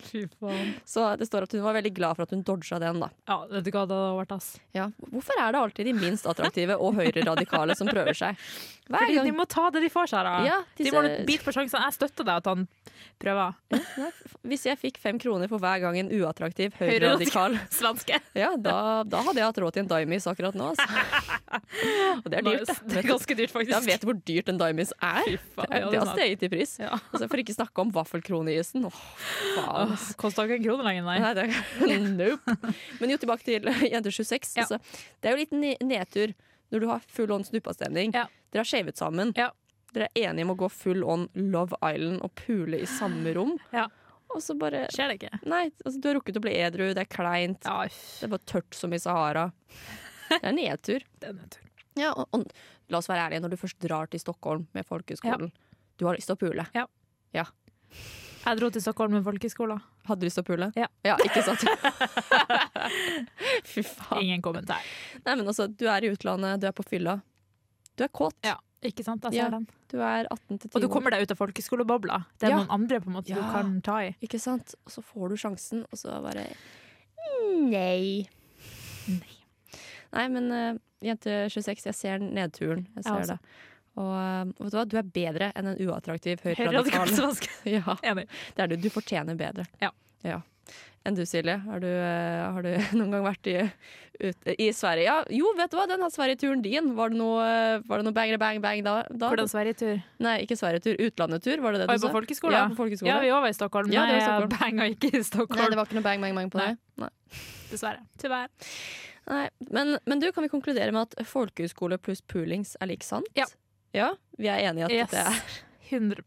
Fy faen. Så det står at hun var veldig glad for at hun dodga den, da. Ja, vet du hva det hadde vært, ass. Ja. Hvorfor er det alltid de minst attraktive og høyreradikale som prøver seg? Hver Fordi de gang. må ta det de får, Sara. Ja, De disse- må bite på sjansene. Jeg støtter deg at han prøver. Nei, Hvis jeg fikk fem kroner for hver gang en uattraktiv høyreradikal Høyreradikal. Svenske. Ja, da, da hadde jeg hatt råd til en Dimis akkurat nå, altså. Og det er dyrt, da. Nice. Det er ganske dyrt, faktisk. Jeg vet du hvor dyrt en Dimis er. Fy Det, faen, er- det ja, det er har sant. steget i pris. Ja. Altså, for ikke snakke om vaffelkroneisen. Åh, faen. Åh, ass. Kosta ikke en krone lenger, nei. Nei, det, nope. Men jo, tilbake til jenter 26. Ja. Altså, det er jo litt ne- nedtur når du har full on snuppastemning. Ja. Dere har shavet sammen. Ja. Dere er enige om å gå full on Love Island og pule i samme rom. Ja. Og så bare Skjer det ikke? Nei, altså, du har rukket å bli edru, det er kleint. Ja, Det er bare tørt som i Sahara. Det er nedtur. det er nedtur. Ja, og, og la oss være ærlige, når du først drar til Stockholm med folkehøyskolen, du har lyst til å pule. Jeg dro til Stockholm med folkeskolen. Hadde du lyst til å pule? Ja. ikke sant? Fy faen. Ingen kommentar. Nei, men altså, du er i utlandet, du er på fylla. Du er kåt. Ja, ikke sant? Jeg ser Ja. den. Du er 18 til 10 Og du kommer deg ut av folkeskolebobla. Det er Ja. noen andre på en måte du Ja. kan ta i. Ikke sant? Og så får du sjansen, og så bare Nei. Nei. Nei, men eh, jente 26, jeg ser nedturen. Jeg ser Jeg også. det. Og eh, vet du hva, du er bedre enn en uattraktiv Høyreradikal høyreradikal. svenske. Ja, Enig. det er du. Du fortjener bedre. Ja. Ja. enn du, Silje. Har du, eh, har du noen gang vært i, ut, i Sverige? Ja, jo, vet du hva, den her Sverige-turen din, var det noe, eh, var det noe bang, bang, bang da? da? Hvordan Sverigetur? Nei, ikke Sverige-tur, utlandetur, var det det Oi, du sa? på folkeskole? Ja, på folkeskole. Ja, vi òg var i Stockholm. Ja, det var Nei, i jeg Stockholm. banga ikke i Stockholm. Nei, det var ikke noe bang, bang, bang på Nei. det. Nei. Dessverre. Tyvärr. Nei, men, men du, kan vi konkludere med at folkehøyskole pluss poolings er lik sant? Ja. Ja, vi er enige i at Yes. det er 100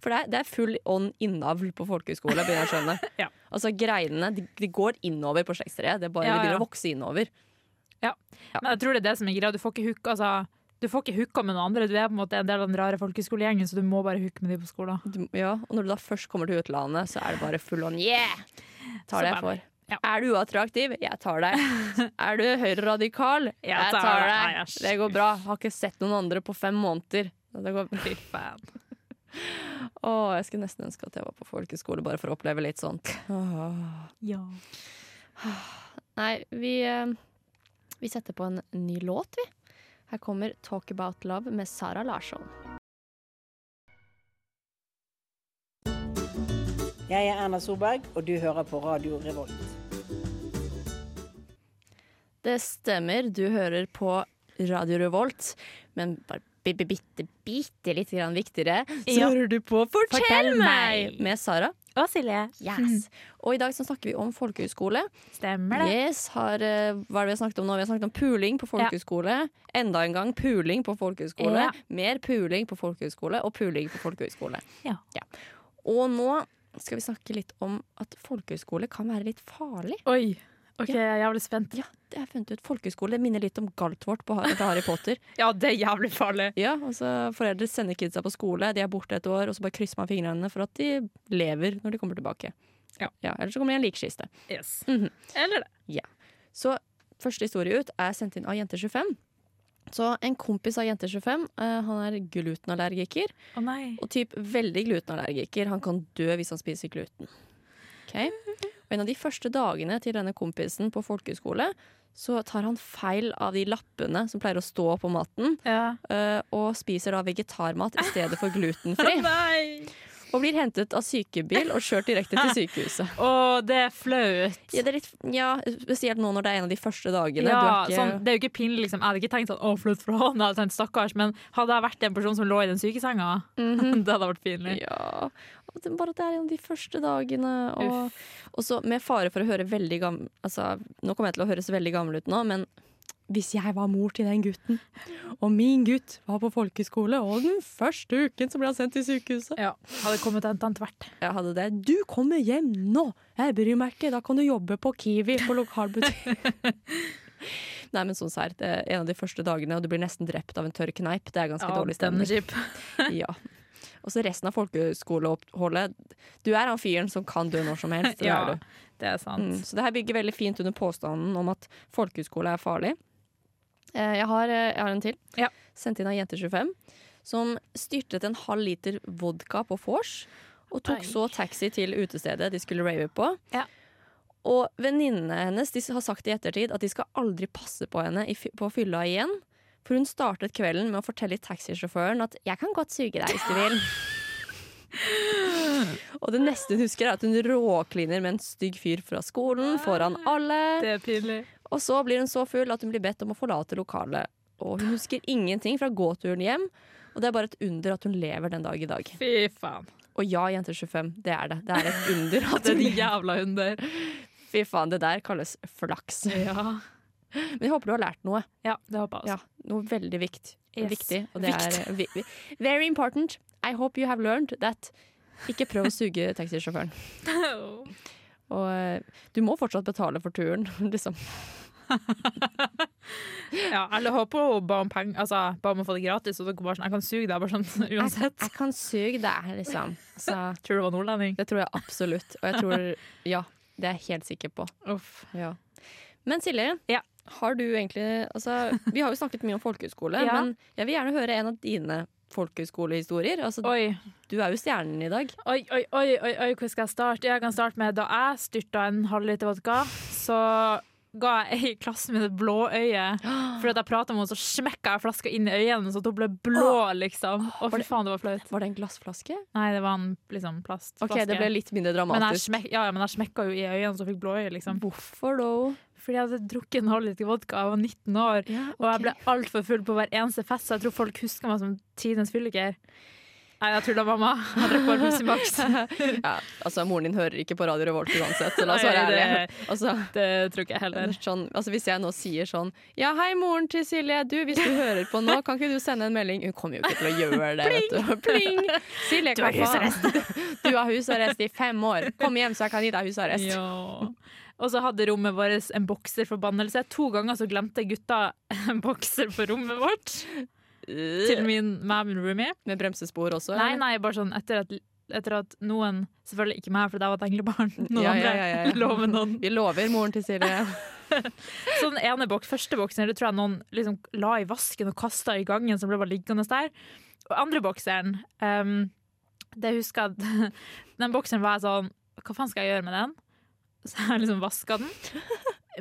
For det er, det er full ånd innavl på folkehøyskole, begynner jeg å skjønne. Ja. Altså greinene, de, de går innover på slektstreet. Det er bare Ja, de begynner ja. å vokse innover. Men jeg tror det er det som er greia. Du får ikke hooka altså, du får ikke hooka med noen andre. Du er på en måte en del av den rare folkehøyskolegjengen, så du må bare hooke med de på skolen. Du, ja, og når du da først kommer til utlandet, så er det bare full on. Yeah! Tar det jeg Så bare- får. ja. Er du uattraktiv? Jeg tar deg. Er du høyreradikal? Jeg tar deg. deg. Æsj. Det går bra. Har ikke sett noen andre på fem måneder. Det går Fy faen. Å, jeg skulle nesten ønske at jeg var på folkeskole bare for å oppleve litt sånt. Åh. Ja. Nei, vi, eh, vi setter på en ny låt, vi. Her kommer 'Talk About Love' med Sara Larsson. Jeg er Erna Solberg, og du hører på Radio Revolt. Det stemmer, du hører på Radio Revolt, men bare bi- bi- bitte, bitte litt grann viktigere, så Ja. hører du på 'Fortell, Fortell meg!' meg! med Sara. Og Silje. Yes. Og i dag så snakker vi om folkehøyskole. Stemmer det. Yes, har, eh, hva er det vi har snakket om nå? Vi har snakket om puling på folkehøyskole. Enda en gang puling på folkehøyskole. Ja. Mer puling på folkehøyskole og puling på folkehøyskole. Ja. Og nå skal vi snakke litt om at folkehøyskole kan være litt farlig. Oi. OK, jeg er jævlig spent. Ja, det har jeg funnet ut. Folkehøyskole det minner litt om Galtvort på Har- til Harry Potter. Ja, det er jævlig farlig. Ja, altså Foreldre sender kidsa på skole, de er borte et år, og så bare krysser man fingrene for at de lever når de kommer tilbake. Ja. ja Ellers så kommer de i en likkiste. Yes. Mhm. Eller det. Så første historie ut er sendt inn av Jente25. Så en kompis av Jente25, eh, han er glutenallergiker. Å nei. Og typ veldig glutenallergiker. Han kan dø hvis han spiser gluten. Ok? Og en av de første dagene til denne kompisen på folkehøyskole, så tar han feil av de lappene som pleier å stå på maten, Ja. eh, og spiser da vegetarmat i stedet for Å glutenfri. nei! Og blir hentet av sykebil og kjørt direkte til sykehuset. Å, det er flaut. Ja, det er litt, ja, spesielt nå når det er en av de første dagene. Ja, du er ikke, sånn, det er jo ikke pinlig. Liksom. Jeg hadde ikke tenkt sånn, å, flytt fra hånda, jeg hadde tenkt, stakkars. Men hadde jeg vært en person som lå i den sykesenga, det hadde vært pinlig. Mhm. Ja. og det- Bare at det er en av de første dagene. Og, og så med fare for å høre veldig gammel altså, Nå kommer jeg til å høres veldig gammel ut nå, men hvis jeg var mor til den gutten, og min gutt var på folkeskole, og den første uken så ble han sendt til sykehuset Ja, hadde kommet en tant hvert. Jeg hadde det. 'Du kommer hjem nå! Jeg bryr meg ikke! Da kan du jobbe på Kiwi på lokalbutikk.' Nei, men sånn serr. Det er en av de første dagene, og du blir nesten drept av en tørr kneip. Det er ganske dårlig stemning. kjip. Ja. Og så resten av folkehøyskoleoppholdet. Du er han fyren som kan dø når som helst. Det Ja, er du. det er sant. Mm. Så det her bygger veldig fint under påstanden om at folkehøyskole er farlig. Eh, Jeg har, eh, jeg har en til. Ja. Sendt inn av Jente25. Som styrtet en halv liter vodka på vors. Og tok Oi. så taxi til utestedet de skulle rave på. Ja. Og venninnene hennes de har sagt i ettertid at de skal aldri passe på henne i, fy- på fylla igjen. For hun startet kvelden med å fortelle taxisjåføren at 'jeg kan godt suge deg hvis du vil'. Og det neste hun husker, er at hun råkliner med en stygg fyr fra skolen foran alle. Det er pinlig. Og så blir hun så full at hun blir bedt om å forlate lokalet. Og hun husker ingenting fra gåturen hjem, og det er bare et under at hun lever den dag i dag. Fy faen. Og ja, jenter 25, det er det. Det er et under at Det er hun de lever. jævla hunder. Fy faen, det der kalles flaks. Ja, Men jeg håper du har lært noe. ja det håper jeg Ja, også. noe veldig vikt. Yes. viktig. Og det er eh, vi, vi, very important. I hope you have learned that. Ikke prøv å suge taxisjåføren. Og eh, du må fortsatt betale for turen, liksom. Ja, eller håper hun ba om penger, altså ba om å få det gratis, og dere bare sånn, jeg kan suge deg, bare sånn, uansett. Jeg kan suge deg, liksom. Så, Tror du det var nordlending? det tror jeg absolutt. Og jeg tror Ja, det er jeg helt sikker på. Uff. Ja. Men Silje, Ja. har du egentlig altså, Vi har jo snakket mye om folkehøyskole, Ja. men jeg vil gjerne høre en av dine folkehøyskolehistorier. Altså, Oi, du er jo stjernen i dag. Oi, oi, oi, oi, oi, hvor skal jeg starte? Jeg kan starte med da jeg styrta en halvliter vodka. Så ga jeg ei i klassen min et blå øye. Fordi at jeg prata med henne, så smekka jeg flaska inn i øynene, hennes, så at hun ble blå, liksom. Å, fy faen, det var flaut. Var det en glassflaske? Nei, det var en liksom, plastflaske. Ok, Det ble litt mindre men jeg, dramatisk. smek, ja, ja, men jeg smekka jo i øynene, så jeg fikk blå øye, liksom. Hvorfor da? Fordi jeg hadde drukket en halv liter vodka, jeg var 19 år, og jeg ble altfor full på hver eneste fest, så jeg tror folk husker meg som tidenes fylliker. Nei, jeg tulla, mamma. Jeg drakk bare Pepsi Max. Ja, altså, Moren din hører ikke på Radio Revolt uansett, så la oss være Nei, det- ærlige. Altså, Det tror ikke jeg heller. sånn, altså, hvis jeg nå sier sånn Ja, hei, moren til Silje. Du, hvis du hører på nå, kan ikke du sende en melding? Hun kommer jo ikke til å gjøre det. Vet du. Pling! Silje, Du har kappa. Du har husarrest i fem år. Kom hjem, så jeg kan gi deg husarrest. Ja. Og så hadde rommet vårt en bokserforbannelse. To ganger så glemte gutta en bokser på rommet vårt. Til min mam roomie. Med bremsespor også? Nei, eller? nei, bare sånn etter at, etter at noen Selvfølgelig ikke meg, for jeg var et englebarn. Noen Ja, ja, andre ja, ja. lå med noen. Vi lover moren til Silje. Så den Sånn ene bok, første boksen det tror jeg noen liksom la i vasken og kasta i gangen, som ble bare liggende der. Og andre bokseren ehm, Det husker jeg at Den bokseren var jeg sånn Hva faen skal jeg gjøre med den? Så jeg liksom vaska den.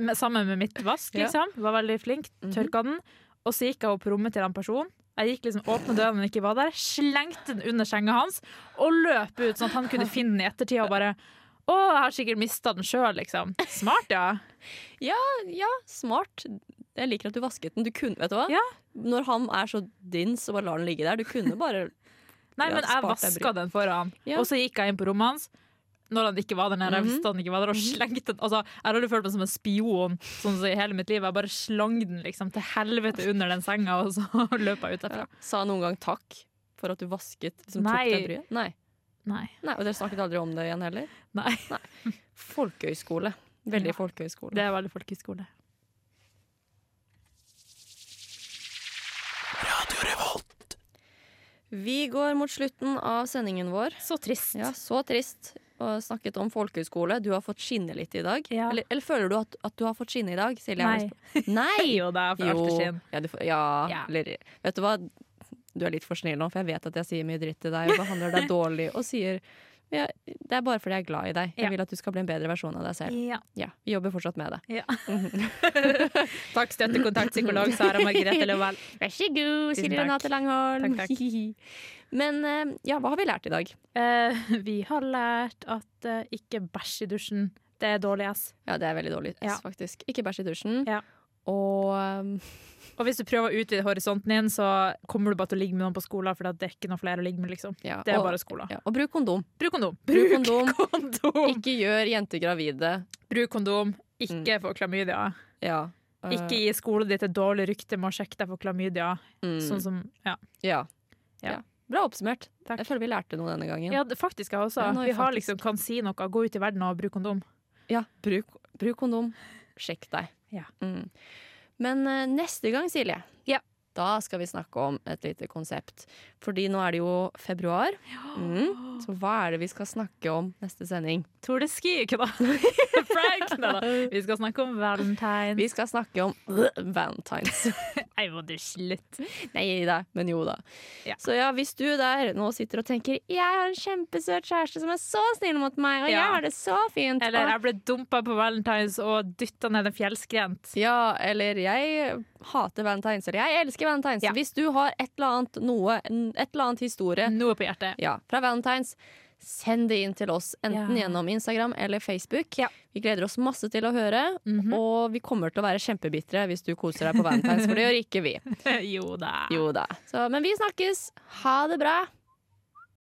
Med, sammen med mitt vask, Ja. liksom. Var veldig flink. Tørka den. Og så gikk jeg opp på rommet til en person. Jeg gikk liksom, åpna døren den ikke var der, slengte den under senga hans og løp ut, sånn at han kunne finne den i ettertid og bare Å, jeg har sikkert mista den sjøl, liksom. Smart, ja. Ja, smart. Jeg liker at du vasket den. Du kunne, vet du hva? Ja. Når han er så dins og bare lar den ligge der, du kunne bare Nei, Ja, men jeg spart deg vaska den foran, Ja. Mhm. og så gikk jeg inn på rommet hans. Når han ikke var der nede, jeg visste han ikke var der, og slengte den. Altså, jeg har aldri følt meg som en spion sånn som i hele mitt liv. Jeg bare slang den liksom til helvete under den senga, og så løp jeg ut derfra. Sa noen gang takk for at du vasket liksom, Nei. tok deg bryet? Nei. Nei. Nei. Og dere snakket aldri om det igjen heller? Nei. Folkehøyskole. Veldig Ja. folkehøyskole. Det er veldig folkehøyskole. Vi går mot slutten av sendingen vår. Så trist. Ja, så trist. Og snakket om folkehøyskole. Du har fått skinne litt i dag. Ja. Eller, eller føler du at, at du har fått skinne i dag? Silje? Nei. Nei! Jo da, for Jo. afterskinn. Ja, du får, ja, Ja. Eller, vet du hva? Du er litt for snill nå, for jeg vet at jeg sier mye dritt til deg og behandler deg dårlig og sier ja, Det er bare fordi jeg er glad i deg. Jeg Ja. vil at du skal bli en bedre versjon av deg selv. Ja. Ja, Vi jobber fortsatt med det. ja. Takk, støttekontakt, psykolog Sara Margrethe Løvell. Vær så god, Tusen Silje takk. Renate Langholm. Takk, takk. Men eh, ja, hva har vi lært i dag? Eh, vi har lært at eh, ikke bæsj i dusjen. Det er dårlig ass. Ja, det er veldig dårlig, Ja. faktisk. Ikke bæsj i dusjen. Ja. Og um, Og hvis du prøver å utvide horisonten din, så kommer du bare til å ligge med noen på skolen, for det er ikke noen flere å ligge med, liksom. ja, Det er og, bare skolen. ja, og bruk kondom. Bruk kondom! Bruk kondom. kondom. Ikke gjør jenter gravide. Bruk kondom. Ikke få klamydia. Ja. eh, Ikke gi skolen ditt et dårlig rykte med å sjekke deg for klamydia. mm, Sånn som, ja. ja. Ja. ja. Bra oppsummert. Takk. Jeg føler vi lærte noe denne gangen. ja, det- faktisk jeg også. Ja, nå er vi har faktisk- liksom kan si noe. Gå ut i verden og bruk kondom. Ja, bruk, bruk kondom. Sjekk deg. Ja. Mm. Men eh, neste gang, Silje, Ja. da skal vi snakke om et lite konsept. Fordi nå er det jo februar. Mm. Så hva er det vi skal snakke om neste sending? Tour de ski, ikke da? Frank! Neida. Vi skal snakke om valentine. Vi skal snakke om valentines. Jeg må dusje litt. Nei da, men jo da. Ja. Så ja, hvis du der nå sitter og tenker 'jeg har en kjempesøt kjæreste som er så snill mot meg', og Ja. 'jeg har det så fint', Eller og jeg ble dumpa på valentines og dytta ned en fjellskrent. Ja, eller jeg hater valentines, eller jeg elsker valentines. Ja. Hvis du har et eller annet noe, en- et eller annet historie Noe på hjertet. ja, fra valentines, send det inn til oss. Enten Ja. gjennom Instagram eller Facebook. Vi gleder oss masse til å høre, Mhm. og vi kommer til å være kjempebitre hvis du koser deg på valentines, for det gjør ikke vi. jo da. Jo da. Så, men vi snakkes. Ha det bra.